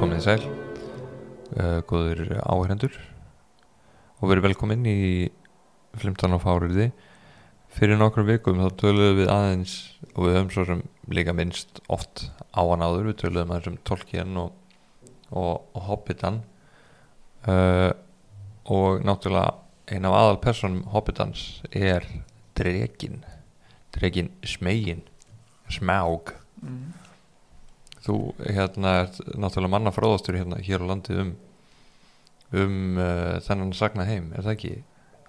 Verðið sæl, uh, góður áherendur og verið velkomin í 15 á fáriði. Fyrir nokkrum vikum þá töluðum við aðeins og við höfum svo sem líka minnst oft á hann áður, við töluðum aðeins um Tolkien og, og, og Hobbitan uh, og náttúrulega einn af aðal personum Hobbitans er Dregin, Dregin Smegin, Smaug Mm. þú hérna ert náttúrulega manna fróðastur hérna hér á landi um um uh, þennan sagna heim er það ekki,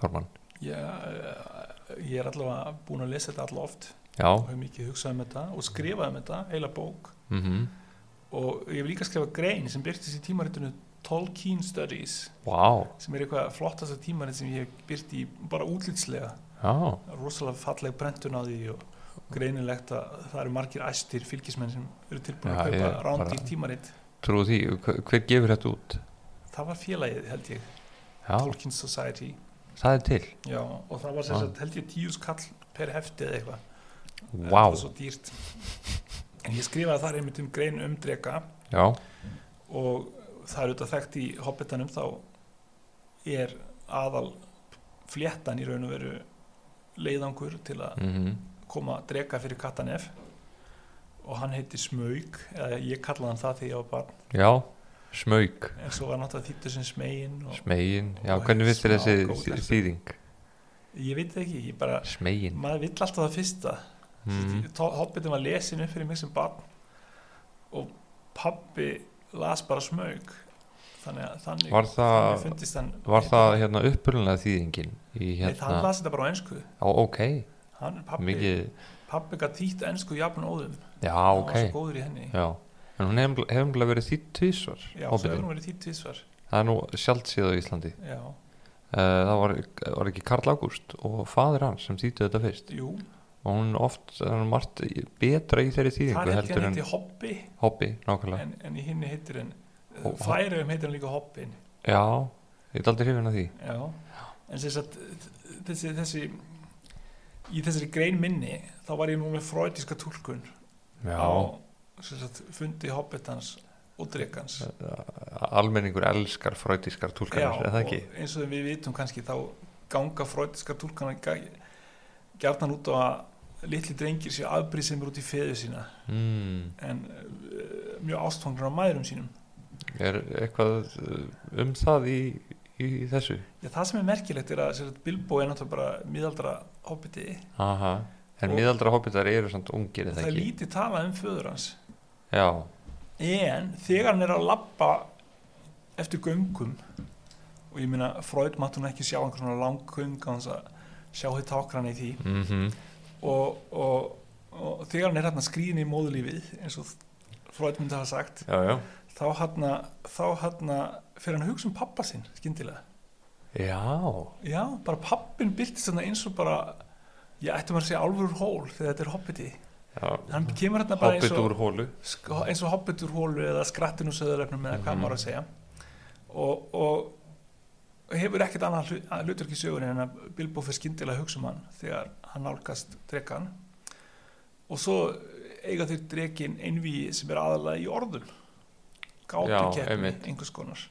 Hormann? Já, eh, ég er allavega búin að lesa þetta allavega oft og Já, hef mikið hugsað um þetta og skrifað um þetta, heila bók mhm og ég hef líka skrifað grein sem byrtist í tímaritinu Tolkien Studies Vá, sem er eitthvað flottasta tímarit sem ég hef byrt í bara útlitslega já, rosalega falleg brentun á því og greinilegt að það eru margir æstir fylgismenn sem eru tilbúin Já, að ég kaupa er rándýr bara- tímarit trú því hver, hver gefur þetta út? það var félagið held ég, Já, Tolkien Society það er til já, og það var sem Já. sagt held ég tíus kall per hefti eða eitthvað Vá, Eh, Það er svo dýrt. En ég skrifaði þar einmitt um grein um drega já, og það er auðvitað þekkt í Hobbitanum þá er aðal fléttan í raun og veru leiðangur til að mhm koma drega fyrir Katanef og hann heitir Smaug eða ég kallaði hann það þegar ég var barn já, smaug en svo var náttúrulega þýttur sem Smegin og smegin, já, Og hvernig finnst þér smá góð þessi þessi. þýðing? ég veit það ekki, ég bara Smegin maður vill alltaf það fyrsta mhm mm. Hobbitin var lesin upp fyrir mig sem barn og pabbi las bara smög þannig að þannig, Var það- þannig fundist hann Var það hérna upprunlega þýðingin í Nei, hann hérna, las þetta bara á ensku á ok hann, pabbi, mikið, pabbi gaf þýtt ensku jafn óðum já hann ok var svo góður í henni já, Já, en hún hefum hefumlega verið þýtt tvísvar svo Hobbitin. hefur hún verið þýtt tvisvar Það er nú sjálft síðan á Íslandi já, Eh, Það var, var ekki Karl Ágúst og faðir hans sem þýttu þetta fyrst jú, og hún oft, það er margt betra í þeirri það þýðingu er heldur hann en heiti hobbi hobby, nákvæmlega en, en í henni heitir hann Og- færiðum heitir hann líka hobbin Já, ég er aldrei hrifin að því Já, en sem sagt þessi, þessi í þessari grein minni þá var ég nú með freudiska tólkun Já, á sem sagt, fundi hobbitans og Eh, drekans almenningur elskar fröytískar túlkanir, er það ekki? og eins og við vitum kannski þá ganga freudiska tólkana gjarnan út á að litli drengir séu afbrýð sem eru út í feðu sína Mm, en uh, mjög ástfangur á mæðurum sínum er eitthvað eh, um það í, í þessu? Já, það sem er merkilegt er að sem sagt, Bilbo er náttúrulega bara miðaldra hobbiti Aha, en Og- miðaldra hobbitar eru samt ungir, og er það það er ekki? lítið talað um föður hans Já, en þegar hann er að labba eftir göngum og ég meina Freud mátt hún ekki sjá einhvern svona lang göng á hans að sjá hitt tákran í því mhm og, og, og þegar hann er hann skrýðin í móðulífið eins og Freud myndi hafa sagt Já, já þá hann þá hann fyrir hann að hugsa um pappa sinn skyndilega Já, já, bara pappin byrtist hann eins og bara ég ætti maður að segja alvöru hól þegar þetta er hoppiti já. hann kemur hann bara eins Hobbit og úr hólu sk- sko, eins og hoppit úr hólu eða skrattin úr söðurlefnum eða hvað Mhm. maður á að segja og, og hefur ekkert annað hlu- að hlutverk í sögunni en að Bilbo fyrir skyndilega að hugsa um hann þegar hann nálgast drekan og svo eiga þeir drekin einvíi sem er aðalega í orðum Já, gátukeppni einmitt. einhvers konar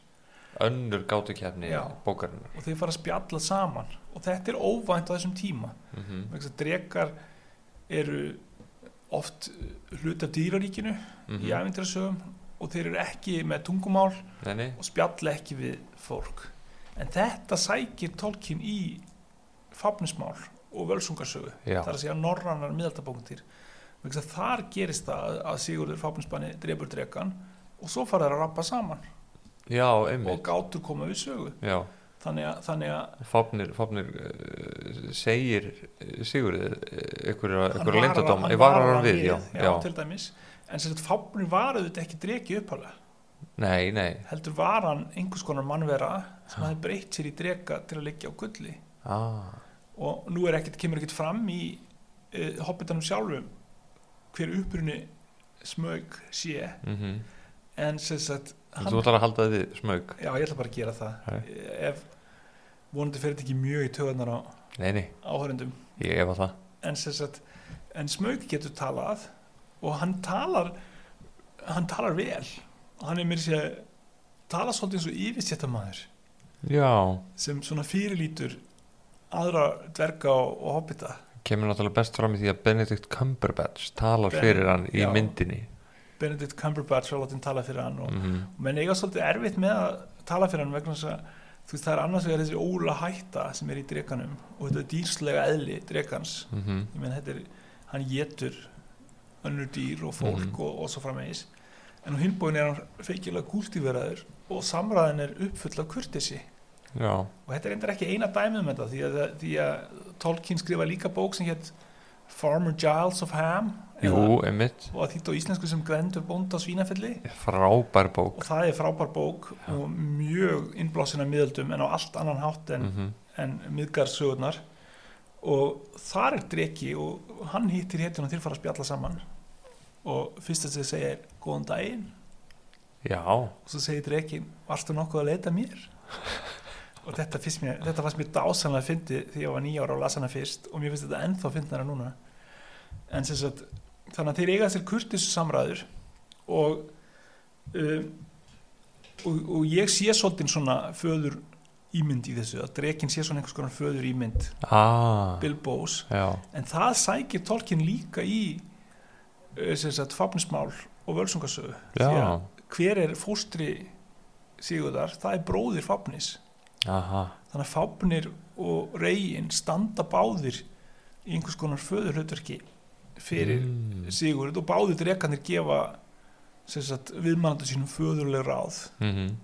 Önnur gátukefni Já. bókarinnar og þeir fara að spjalla saman og þetta er óvænt á þessum tíma mm -hmm. vegna þess að drekar eru oft hlut af dýraríkinu mhm. í æfintirasögum og þeir eru ekki með tungumál Nei, nei, og spjalla ekki við fólk en þetta sækir tólkin í fafnismál og völsungarsögu já, þar að segja norrannar miðaldabókundir vegna þess að þar gerist það að Sigurður fafnismanni drefur drekan og svo fara þær að rappa saman já, og einmitt gátur koma við sögu Já, þannig að, þannig að Fafnir, Fafnir uh, segir eh, Sigurði einhverja hann einhverja varar- leyndadóm, hann ég varar varar hann við, já, já, til dæmis en sem sagt fafnir var auðvitað ekki dreki upphálega Nei, nei, heldur var hann einhvers konar mannvera sem hafði breytt sér í drega til að liggja á gulli ah, og nú er ekkert, kemur ekkert fram í uh, hobbitanum sjálfum hver upprunni smög sé mm en sem sagt hann, Þú ætlar að halda þið smög já ég ætla bara að gera það Eh, Hæ. ef vonandi fer þetta ekki mjög í töðunar á Nei, nei, áhörendum ég efa það en sem sagt en smög getur talað og hann talar hann talar vel hann er mér sér tala svolítið eins og yfirstéttamaður Já, sem svona fyrirlítur aðra dverga og, og hobbita kemur náttúrulega best fram í því að Benedict Cumberbatch talar Ben- fyrir hann í já. myndinni Benedict Cumberbatch var látinn tala fyrir hann og mm menn eiga svolítið erfitt með að tala fyrir hann vegna þess að þú veist það er annars vegar þessi óla hætta sem er í drekanum og þetta er dýrslega eðli drekans -hmm. ég menn þetta er, hann getur önnur dýr og fólk Mhm. og, og svo framvegis en á hinbóin er hann feikilega gúltíferaður og samræðin er uppfull af kurtesi Já, og þetta er endur ekki eina dæmið með þetta því að, því að Tolkien skrifa líka bók sem hétt Farmer Giles of Ham jú, emitt og að þýtt á íslensku sem Grendur bónd á Svínafelli frábær bók og það er frábær bók og mjög innblásin af miðöldum en á allt annan hátt en, mm -hmm. en miðgarsögurnar og þar er dreki og hann hittir hétun og þeir fara að spjalla saman og fyrst að þess segja er góðan daginn Já, og svo segir drekin varstu nokkuð að leita mér og þetta, finnst mér, þetta fannst mér dásanlega fyndi því ég var nýja ára og las hana fyrst og mér finnst þetta ennþá fyndnara núna en sem sagt þannig að þeir eiga sér kurtissu samræður og, um, og og ég sé svolítið svona föður ímynd í þessu að drekin sé svona einhvers konar föður ímynd ah Bilbo's Já, en það sækir tolkin líka í uh, sem sagt fafnismál og völsungasögu Því að já, hver er fóstri Sigurðar, það er bróðir Fáfnis aha þannig að Fáfnir og Reyin standa báðir í einhvers konar föðurhlutverki fyrir mm. Sigurð og báðir drekanir gefa sem sagt, viðmannandi sínum föðurleg ráð mm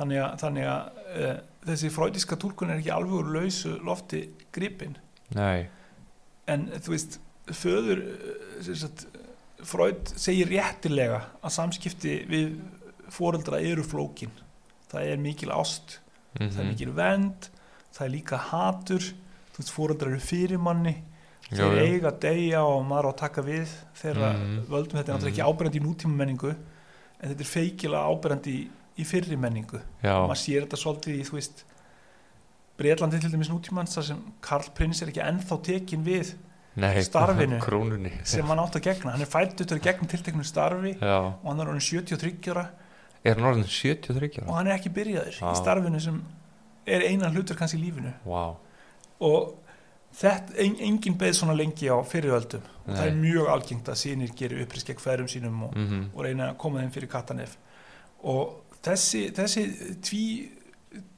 þannig að, þannig að uh, þessi fröydiska túlkun er ekki alveg úr lausu lofti gripin Nei, en þú veist föður eh, sem sagt, Freud segir réttilega að samskipti við foreldra eru flókin það er mikil ást, mm það er mikil vend það er líka hatur þú veist, foreldra eru fyrir manni Já, þeir já. eiga að deyja og maður á að taka við þeirra Mhm. völdum þetta er náttúrulega ekki ábyrjandi í nútíma menningu en þetta er feikilega ábyrjandi í, í fyrri menningu Já, maður sér þetta svolítið í þú veist Breitlandi til dæmis nútímans þar sem Karl Prins er ekki ennþá tekin við nei starfinu. Krónunni sem hann átt að gegna, hann er fættutur gegn tilteknu starfi Já, og hann er orðin 73 ára er hann orðin 73 og ára? hann er ekki byrjaður Já. í starfinu sem er einan hlutur kannski í lífinu Vá, og þetta, en, engin beð svona lengi á fyriröldum og það er mjög algengt að sínir gerir upprýst gegn færum sínum og, mm -hmm. og reyna að koma þeim fyrir kattanef og þessi, þessi tví,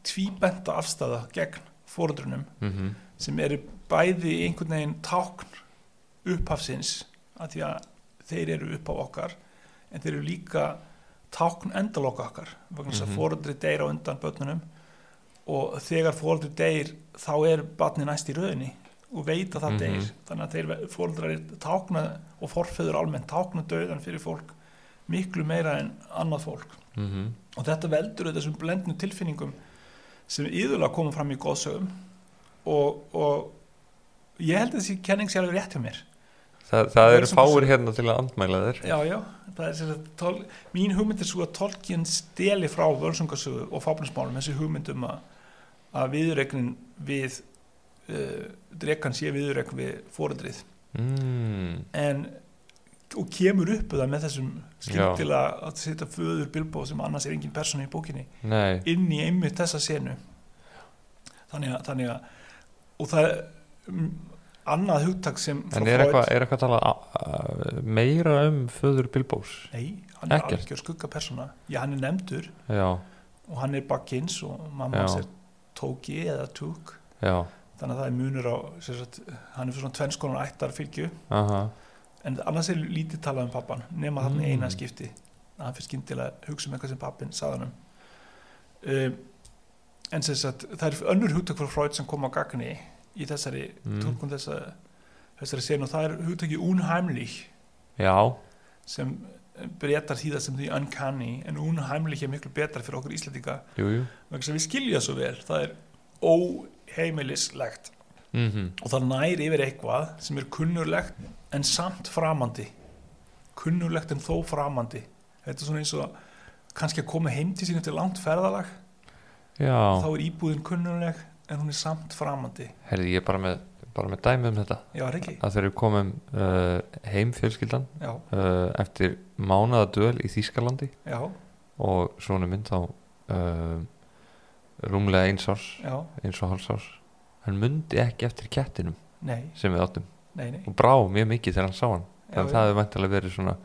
tvíbenta afstæða gegn fóruðrunum Mm -hmm. sem eru bæði einhvern veginn tákn upphafsins að því að þeir eru upphaf okkar en þeir eru líka tákn endaloka okkar vegna þess Mhm. að foreldri deyr á undan börnunum og þegar foreldri deyr þá er barni næst í röðinni og veit að það Mhm. deyr þannig að þeir foreldrar er tákna og forfeður almennt tákna döðan fyrir fólk miklu meira en annað fólk Mm -hmm. og þetta veldur auðvitað þessum blendnu tilfinningum sem yðurlega koma fram í góðsögum og, og ég held að þessi kenning sé alveg rétt hjá mér Þa, það eru Völsungarsögu. fáir hérna til að andmæla þér já, já, það er sér að tol, mín hugmynd er svo að Tolkien steli frá völsungarsögu og fábnismálum þessi hugmynd um að, að viðuregnin við uh, drekan sé viðuregn við fóreldrið mm. en og kemur upp það með þessum skyndilega að setja föður Bilbo sem annars er engin persónu í bókinni Nei, inn í einmitt þessa senu þannig að, þannig að og það er mm, annað hugtak sem frá en er Freud- eitthvað eitthva að tala a- a- meira um föður Bilbós? nei, hann er Ekkert. algjör skuggapersona já, hann er nefndur Já, og hann er bakkins og mamma Já. hans er tóki eða túk já, þannig að það er munur á sem sagt, hann er fyrir svona tvennskonar ættar fylgju aha, en annars er lítið talað um pappan nema þarna mm. Mm. eina skipti að hann fyrir skyndilega að hugsa um eitthvað sem pappin sagði hann um, en sem sagt það er önnur hugtök frá Freud sem kom á gagni í þessari Mm. túlkun þessa, þessari sen og það er hugtöki unheimlich já, sem breytar þýða sem því uncanny en unheimlich er miklu betra fyrir okkur Íslandinga jú, jú vegna þess að við skilja svo vel það er óheimilislegt mm og það nær yfir eitthvað sem er kunnurlegt en samt framandi kunnurlegt en þó framandi þetta er svona eins og kannski að koma heim til sín eftir langt ferðalag þá Já, er íbúðin kunnurleg en hún er samt framandi herði ég er bara með, bara með dæmi um þetta já, er ekki? að þegar við komum uh, heim fjölskyldan já, uh, eftir mánaðadöl í Þýskalandi já, og svona minn þá uh, rúmlega eins árs já, eins og hálfs árs hann mundi ekki eftir kettinum nei, sem við áttum nei, nei og brá mjög mikið þegar hann sá hann þannig að já, það hefði vantilega verið svona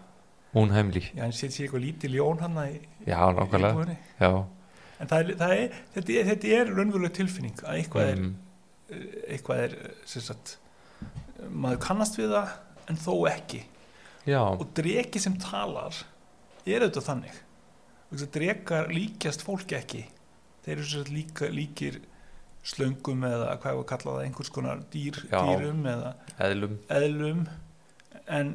unheimli já, hann sé sér eitthvað lítið ljón hann í, já, í nákvæmlega íbúðinni. já, en það er, það er, þetta, er, þetta er raunveruleg tilfinning að eitthvað er, mm, eitthvað er eh, sem sagt, maður kannast við það en þó ekki já, og dreki sem talar er auðvitað þannig Vegna þess að drekar líkjast fólk ekki þeir eru sér líka, líkir slöngum eða hvað við kalla það einhvers konar dýr, Já. dýrum eða eðlum eðlum en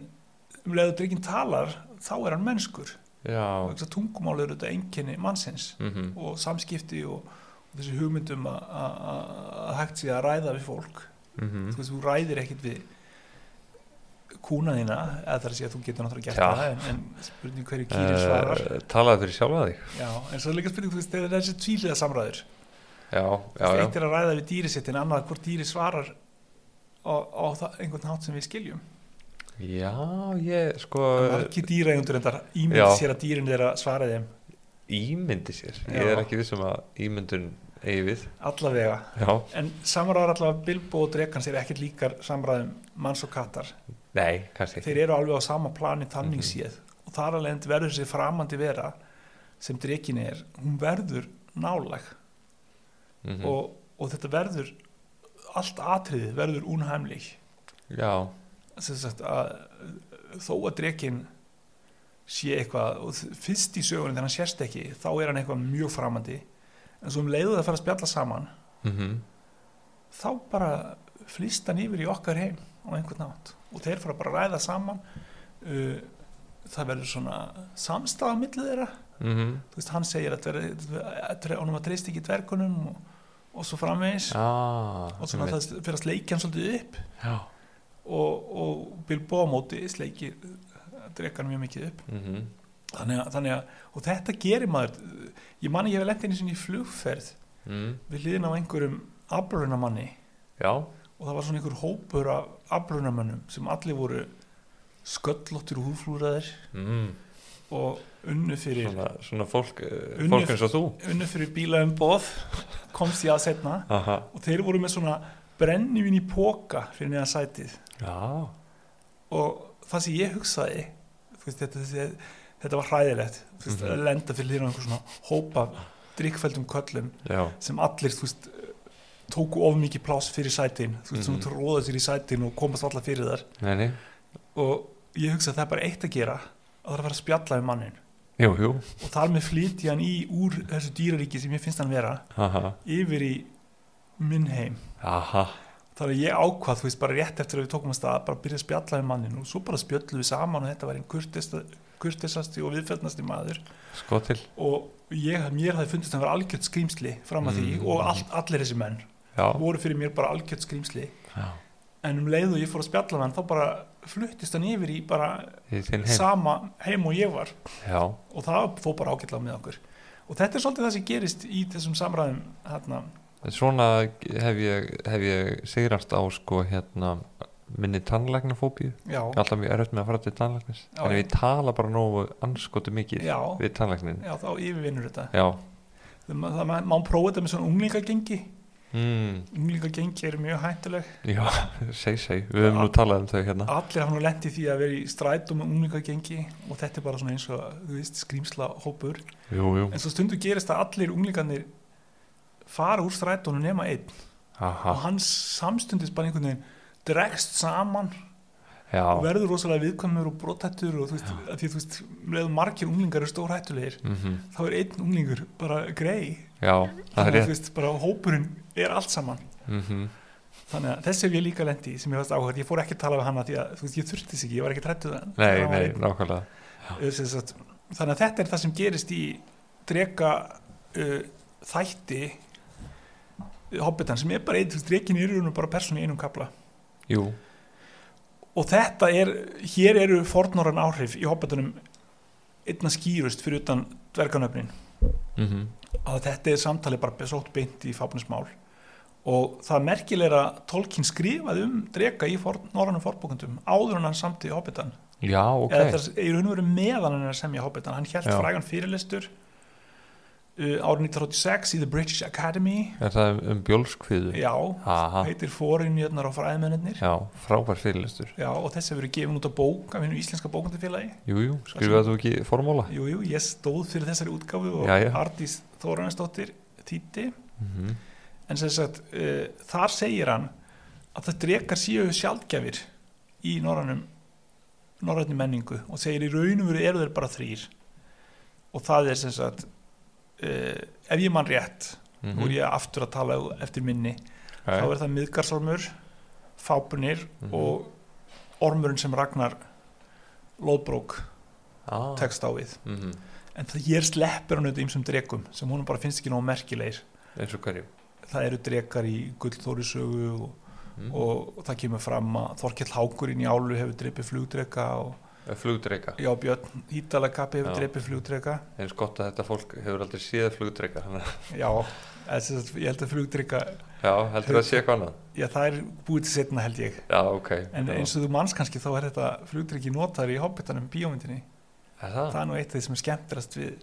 um leiðu drekinn talar þá er hann mennskur já, Vegna þess að tungumál eru auðvitað einkenni mannsins mhm, og samskipti og, og þessi hugmyndum að- að að- að hægt sé að ræða við fólk mhm þú veist, þú ræðir ekkert við kúna þína eða það er að segja að þú getur náttúrulega gert Já. það en, en spurning hverju kýrin svarar Uh, talaði fyrir sjálfa þig já, en svo er líka spurning, þú veist, þegar það er þessi tvíliða samræður já, já, já, já, eitt er að ræða við dýri sitt en annað hvort dýri svarar á, á það, einhvern hátt sem við skiljum já ég sko margir dýrægjundur en það já. ímynd sér að dýrin þeirra svara þeim ímyndi sér, ég Já. er ekki vissum að ímyndun eigi við allavega já, en samræður allavega Bilbo og Drekan sér ekkert líkar samræðum manns og kattar nei, kannski ekki þeir eru alveg á sama plani þannig Mhm. séð og þar alveg verður þessi framandi vera sem drekin er, hún verður nálæg Mhm. og, og þetta verður allt atriðið verður unheimlig já, sem sagt að þó að drekin sé eitthvað og þ- fyrst í sögunni þegar hann sérst ekki þá er hann eitthvað mjög framandi en svo um leiðu það að fara að spjalla saman mhm þá bara flýst hann yfir í okkar heim á einhvern nátt og þeir fara bara að ræða saman uh, það verður svona samstafa millir þeirra, mhm þú veist hann segir að dver, dver, honum að treyst ekki dvergunum og, og svo framvegis Ah, og svona það fyrir að sleikja hann svolítið upp já. og, og Bilbo á móti sleikir dregan mjög mikið upp Mm þannig að, þannig að, og þetta gerir maður ég manni ég hef lent inn í sinni flugferð mm, við liðin á einhverjum abrunamanni já, og það var svona einhver hópur af aflunamönnum sem allir voru sköllóttir og húflúraðir mm, og unnu fyrir, svona, svona fólk, uh, Unnið- fólk eins og þú unnu fyrir bíla um boð komst ég að setna Aha. og þeir voru með svona brennivín í póka fyrir neðan sætið Já, og það sem ég hugsaði þú veist, þetta, þetta, þetta var hræðilegt þú veist, Mhm. að lenda fyrir liðin á einhver svona hópa drikkfældum köllum já, sem allir þú veist, tóku of mikið pláss fyrir sætin þú Mhm. veist, svona tróða sér í sætin og komast allar fyrir þar nei, nei og ég hugsa að það er bara eitt að gera að það er að fara að spjalla við mannin Jú, jú, og þar með flyt ég hann í úr þessu dýraríki sem ég finnst hann vera aha, yfir í minn heim aha þannig að ég ákvað, þú veist, bara rétt eftir að við tókum að stað bara að byrja að spjalla við mannin og svo bara spjöllu við saman og þetta var einn kurteista- kurteisasti og viðfellnasti maður Sko til, og ég, mér hafði fundist að hann vera algjört skrýmsli fram að því Mm. og all, allir þessi menn já, voru fyrir mér bara algjört skrýmsli já. en um leið og ég fór að spjalla við hann þá bara fluttist hann yfir í bara Í þinn heim sama heim og ég var Já, og það fór bara ágætlega með okkur og þetta er svolítið það sem gerist í þessum samræðum hérna, svona hef ég, hef ég sigrast á sko hérna minni tannlæknafóbíu já, Alltaf mjög erfitt með að fara til tannlæknis Já, En já. við tala bara nógu anskotu mikið já, við tannlæknin já, þá yfirvinnur þetta Já, það, ma- það, ma- má prófa þetta með svona unglingagengi mm, unglingagengi eru mjög hættuleg já, seg, seg Við höfum nú talað um þau hérna allir hafa nú lent í því að vera í strætum með unglingagengi og þetta er bara svona eins og þú veist, skrýmsla hópur Jú, jú, en svo stundu gerist að allir unglingarnir fara úr strætunum nema einn aha og hans samstundis bara einhvern veginn dregst saman Já, og verður rosalega viðkvæmur og brotættur og þú veist, að því þú veist, leður margir unglingar eru stórhættulegir, mm þá er einn unglingur bara grei, já, það er þannig að þú rétt veist, bara hópurinn er allt saman, mm þannig að þessi hef ég líka lendi sem ég varst áhört, ég fór ekki að tala við hana því að þú veist, ég þurfti sig ekki, ég var ekki trættuð Nei, nei, nákvæmlega þannig að þetta er það sem gerist í drega uh, þætti hobbitan sem er bara einn, þú veist, drekin er í raunum bara persónu í einum kapla Jú, og þetta er, hér eru fornorran áhrif í hobbitunum einna skýrust fyrir utan dverganöfnin mm að þetta er samtali bara sótt beint í fáfnismál og það merkilega Tolkien skrifaði um drega í for, norrannum forbókundum áður en hann samti í hobbitan já, ok eða það er í raun og veru meðan hann er að semja hobbitan hann Já. hélt frægan fyrirlistur uh, árið 1986 í The British Academy Er það um- um bjólskviðu? já, Aha, heitir Fórinjötnar og fræðmennir já, frábær fyrirlestur já, og þessi hefur verið gefin út á bók af hennu íslenska bókundafélagi Jú, jú, skrifaðu þú ekki formóla? jú, jú, ég stóð fyrir þessari útgáfu og Jæja. Ardís Þóranisdóttir þýtti Mhm. en sem sagt, uh, þar segir hann að það drekar séu sjaldgjafir í norrannum norrænni menningu og segir í raunum veru eru þeir bara þrýr og það er sem sagt uh, ef ég mann rétt nú er Mhm. ég aftur að tala eftir minni þá Jæja. er það miðgarsormur fápunir Mhm. og ormurinn sem Ragnar Lóbrók Ah. tekst á við Mhm. en það hér sleppur hann auðvitað ýmsum drekum sem honum bara finnst ekki nóg merkilegir Eins og hverju? það eru drekar í gullþórisögu og, Mhm. og það kemur fram að Þorkell Hákurinn í Álu hefur dreipið flugdreka og Eh, Flugdreka já, Björn Hítalagapi hefur Já. dreipið flugdreka Eins gott að þetta fólk hefur aldrei séð flugdreka þannig að- já, eða sem sagt, ég held að flugdreka Já, heldur það að sé eitthvað annað? já, það er búið til setna held ég Já, ok En Já. eins og þú manns kannski þá er þetta flugdryggi notaður í Hobbitanum bíómyndinni. Er það? Það er nú eitt af því sem er skemmtirast við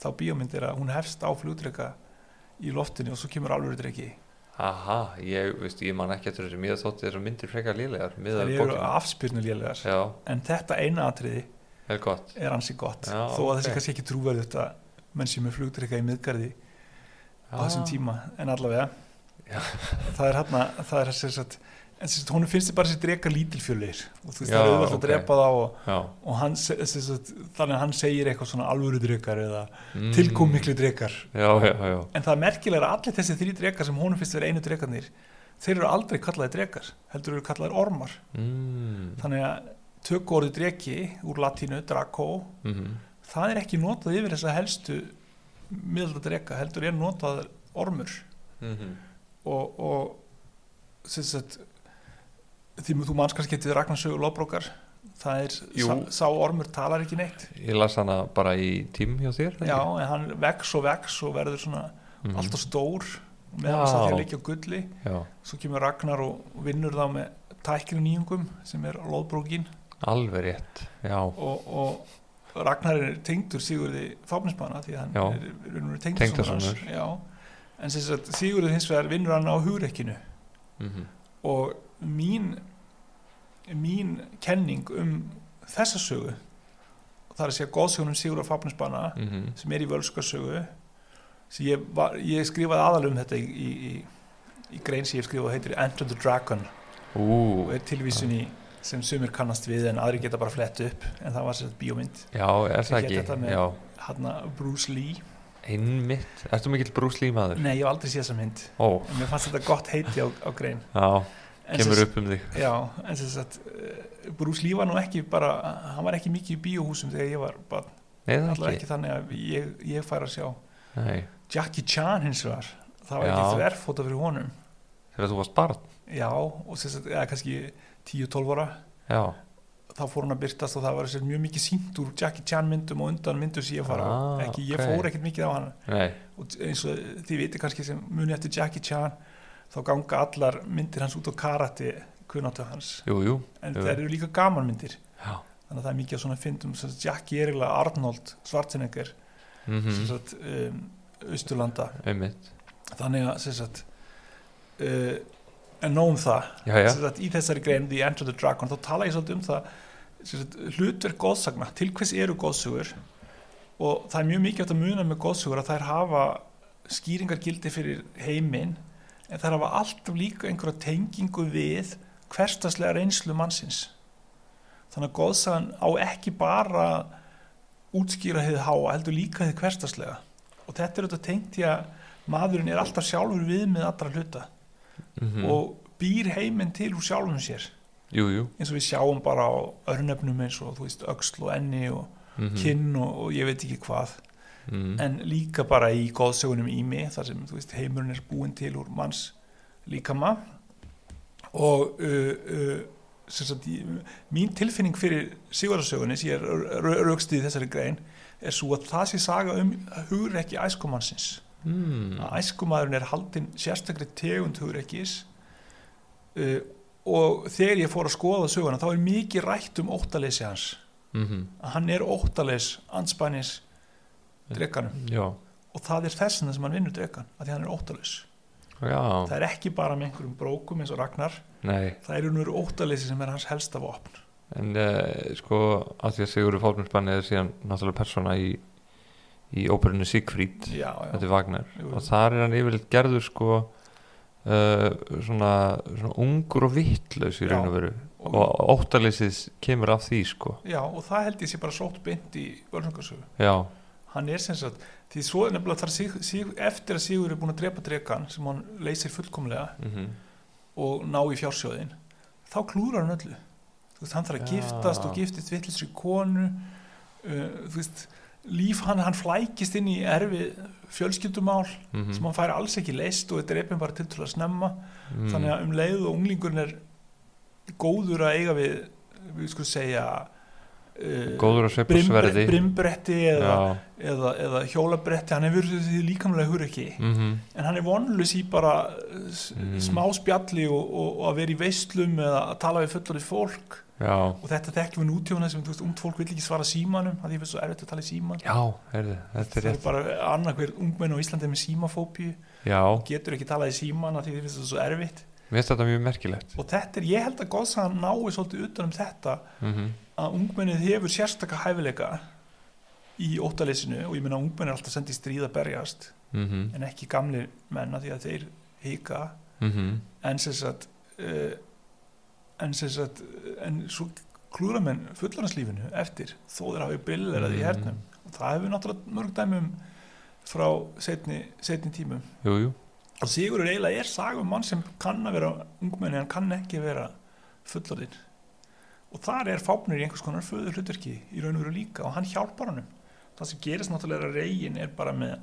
þá bíómynd er að hún hefst á flugdrygga í loftinu og svo kemur alvöru dryggi. Aha, ég, veist, ég man ekki eftir þessu Mér þótti þessar myndir frekar lélegar Það Miðað við eru bókina afspyrnulélegar. Já, En þetta eina atriði það er gott er ansi gott. Já, þó að þessi ok. kannski ekki trúverðu þetta menn sem er flugdrygga í miðgarði á þessum Ah. tíma. En allavega, Já. það er hérna, það er þess að, en þess að hún finnst þið bara þessi drega lítilfjölir og þú veist Já, það er auðvitað að ok. drepa þá og Já og hann, se- sem sagt, þannig að hann segir eitthvað svona alvöru drekar eða Mm. tilkom miklu drekar Já, já, já en það er merkilega að allir þessi þrý drekar sem honum finnst vera einu drekarnir þeir eru aldrei kallaði drekar heldur eru kallaði ormar mm. þannig að tökur orði dreki úr latínu, draco mm það er ekki notað yfir þessa helstu miðlda dreka heldur er notað ormur Mhm. og, og sem sagt, því þú manns kannski getið Ragnarsögu Lóbrókar það er, Jú. sá, sá ormur talar ekki neitt Ég las hana bara í tím hjá þér Já, en hann vex og vex og verður svona mm alltaf stór með Já. hans að því að leikja á gulli Já, svo kemur Ragnar og og vinnur þá með tækinu nýjungum sem er loðbrókin alveg rétt Já, og, og Ragnar er tengdur Sigurði fáfnismanna því að hann Já. er, er, er tengdur Tengdasonur. hans. Já, en sem sagt Sigurður hins vegar vinnur hann á hugrekkinu mm og mín mín kenning um þessa sögu það er að segja góðsögunum Sigurður fáfnismanna Mhm. sem er í völskarsögu sem ég, var, ég skrifaði aðalum um þetta í, í, í, í grein sem ég hef skrifað og heitir Enter the Dragon og Ú, er tilvísun í sem sumir kannast við en aðri geta bara flett upp en það var sér bíómynd já, er það Ég get ekki þetta með- Já, hann Bruce Lee einmitt Ertu mikill brúslí maður? nei ég hef aldrei séð þessa mynd Ó, en mér fannst þetta gott heiti á, á grein já, en kemur sem- upp um þig já, en sem sagt eh, Bruce Lee var nú ekki bara hann var ekki mikið í bíóhúsum þegar ég var bara, Nei, það allar ekki, ekki þannig að ég, ég fær að sjá Nei, Jackie Chan hins vegar það var Já. ekki þverfóta fyrir honum þegar þú varst barn Já, og sem sagt, eða kannski 10-12 ára, Já, þá fór hún að byrtast og það var sér mjög mikið sínt úr Jackie Chan myndum og undan myndum sem ég fara Ah, ekki, ég ok. fór ekkert mikið á hann nei, og eins og þið viti kannski sem muni eftir Jackie Chan þá ganga allar myndir hans út á karate kunnáttu hans, jú, jú en Jú. það eru líka gaman myndir Já, þannig að það er mikið af svona fyndum sem sagt, Jackie er eiginlega Arnold Schwarzenegger mm sem sagt, um, Austurlanda einmitt þannig að sem sagt, uh, en nóg um það Já, já, sem sagt, í þessari grein The Enter the Dragon þá tala ég svolítið um það sem sagt, hlutverk góðsagna, til hvers eru góðsugur og það er mjög mikilvægt að muna með góðsugur að þær hafa skýringargildi fyrir heiminn en þær hafa alltaf líka einhverja tengingu við hverstaslega reynslu mannsins þannig að góðsagan á ekki bara að útskýra hefði háa heldur líka hefði hverstaslega og þetta er auðvitað tengt í að maðurinn er alltaf sjálfur við með allra hluta mhm. og býr heiminn til úr sjálfum sér Jú, jú eins og við sjáum bara á örnöfnum eins og þú veist öxl og enni og mm kinn og, og ég veit ekki hvað mm. en líka bara í góðsögunum ími þar sem þú veist heimurinn er búinn til úr manns líkama og uh, uh, sem sagt, ég, mín tilfinning fyrir Sigurðarsögunni sem ég er raukstið í þessari grein er svo að það sé saga um hugrekki æskumannsins Mm. að æskumadurinn er haldinn sérstakri tegund hugrekkis uh, og þegar ég fór að skoða söguna þá er mikið rætt um óttaleysi hans Mm -hmm. Mm. að hann er óttaleys anspænis drekkanum Já, og það er þessna sem hann vinnur dregan að því hann er óttalus það já, er ekki bara með einhverjum brókum eins og Ragnar nei það er unnur óttaleysi sem er hans helsta vopn en uh, sko að því að Sigurður Fálminsbanni er síðan náttúrulega persóna í, í óperinu Siegfried já, já, þetta er Wagner Jú, jú. og þar er hann yfirleitt gerður sko uh, svona, svona ungur og vittlaus í Já. raun og veru og, og óttaleysið kemur af því sko já, og það held ég sé bara sótt beint í völsungarsögu já, hann er sem sagt því svo er nefnilega þar sig, sig, eftir að Sigur er búin að drepa dregan sem hann leysir fullkomlega mm og ná í fjársjóðin þá klúrar hann öllu þú veist, hann þarf að Já. giftast og giftist vittlisri konu uh, þú veist líf hann, hann flækist inn í erfi fjölskyldumál Mhm. sem hann fær alls ekki leist og þetta er eppin bara tiltrúlega snemma mm. þannig að um leið og unglingurinn er góður að eiga við við skulum segja uh, góður að sveipa brimbre, sverði brimbretti eða, já, eða, eða hjólabretti hann hefur því líkamlega hugur ekki mm en hann er vonlus í bara mm. Mm. smá spjalli og, og, og að vera í veislum eða að tala við fullorðið fólk já, og þetta þekkjum við nútjóna sem þú veist, umt fólk vil ekki svara símanum að því er svo erfitt að tala í síman já, heyrðu, þetta er það er rétt bara annað hver ungmenn á Íslandi er með símafóbíu já, getur ekki talað í síman að því þið finnst það svo erfitt mér finnst þetta mjög merkilegt og þetta er, ég held að góðsagan nái svolítið utan um þetta mm að ungmennið hefur sérstaka hæfileika í óttaleysinu og ég meina ungmenn er alltaf sendið í stríð að berjast -hmm. en ekki gamli menna því að þeir hika Mm -hmm. en sem sagt uh, en sem sagt eh, en svo klúra menn fullanslífinu eftir þó þeir hafi billerað í hernum og það hefur náttúrulega mörg dæmum frá setni, setni tímum jú, jú, og Sigurður eiginlega er saga um mann sem kann að vera ungmenni en kann ekki vera fullorðinn og þar er fápnir í einhvers konar föður hlutverki í raun og veru líka og hann hjálpar honum það sem gerist náttúrulega er að reygin er bara með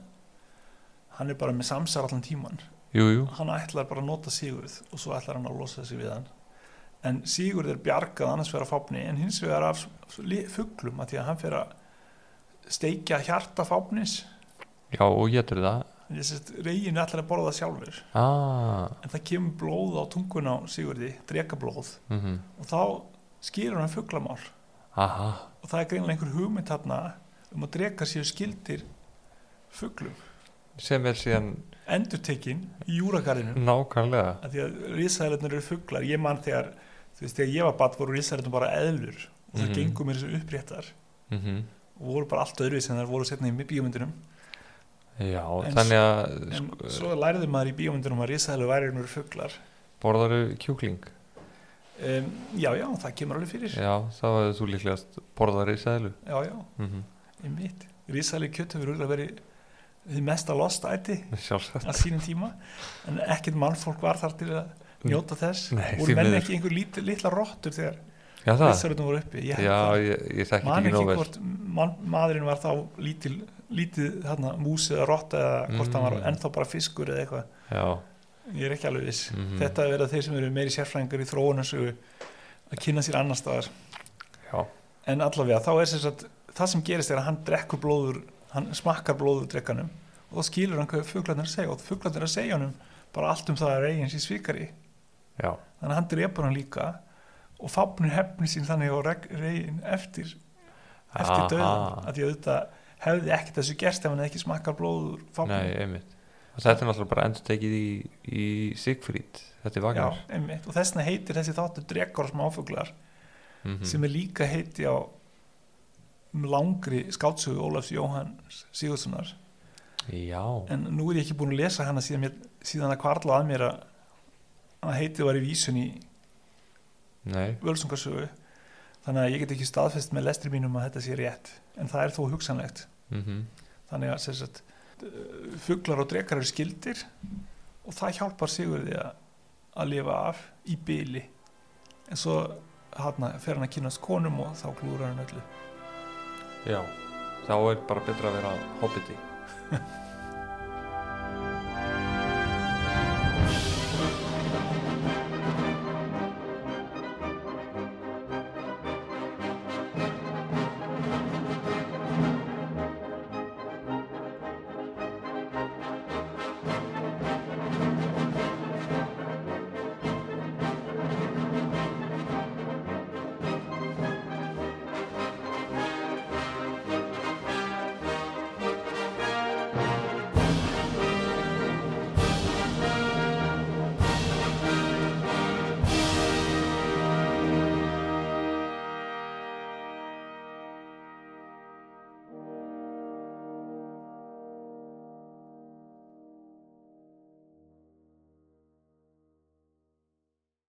hann er bara með samsar allan tíman jú, jú hann ætlar bara að nota Sigurð og svo ætlar hann að losa sig við hann en Sigurð er bjargað annars vera fápni en hins vegar af fugglum að því að hann fer að steikja hjarta fápnis já, og getur það reygin ætlar að borða það sjálfur ah, en það kemur blóð á tungun á Sigurði, drekablóð mm og þá skýrur hann fugglamál aha, og það er greinlega einhver hugmynd þarna um að drekar séu skildir fugglum, sem er síðan endurtekin í júragarðinu, nákvæmlega af því að risaðalendur eru fugglar, ég man þegar þú veist, þegar ég var batt voru risaðalendur bara eðlur og það Mhm. gengur mér þessu uppréttar mm og voru bara allt öðru sem þær voru setna í bíómyndunum já, En s- þannig að en sko, svo læriði maður í bíómyndunum að risaðalendur væri einhver fugglar borðaru kjúkling um, já, já, það kemur alveg fyrir já, það var þú líklegast borðari sælu já, já, mm -hmm. Einmitt. Rísaleg kjöt hefur auðvitað verið því mesta lostæti sjálfsagt á sínum tíma en ekkert mannfólk var þar til að njóta þess Nei, því voru menn miður. ekki einhver lít, litla rottur þegar já, það, rísalöfnum voru uppi ég held já, að- ég, ég þekki þetta man ekki ekki nóg vel hvort man, maðurinn var þá lítil, lítið þarna, mús eða rotta eða hvort hann var Mm. ennþá bara fiskur eða eitthvað já, ég er ekki alveg viss Mhm. þetta er verið þeir sem eru meiri sérfræðingar í þróunarsögu að kynna sér annar staðar já, en allavega þá er sem sagt það sem gerist er að hann drekkur blóður hann smakkar blóður drekkanum og þá skilur hann hvað fuglarnir er að segja og fuglarnir er að segja honum bara allt um það að eigin sér svikari já þannig að hann drepur hann líka og fápnir hefni sín þannig á regin eftir, eftir döðan Aha. að því að auðvitað hefði ekkert þessu gerst ef hann hefði ekki smakkar blóður Nei, fápnir einmitt og þetta er náttúrulega bara endur tekið í, í Sigfríd, þetta er Já, Wagner einmitt, og þessna heitir þessi þáttu drekar og smáfuglar mm -hmm. sem er líka heiti á langri skátsugu Ólafs Jóhanns Sigurðssonar já, en nú er ég ekki búin að lesa hana síðan, mér, síðan að kvarla að mér að, að heitið var í vísun í nei, völsungarsögu þannig að ég get ekki staðfest með lestri mínum að þetta sé rétt en það er þó hugsanlegt mm þannig að sem sagt, eh, fuglar og drekar eru skildir og það hjálpar Sigurði að, að lifa af í byli en svo hana, fer hann að kynast konum og þá klúrar hann öllu já þá er bara betra að vera hobbiti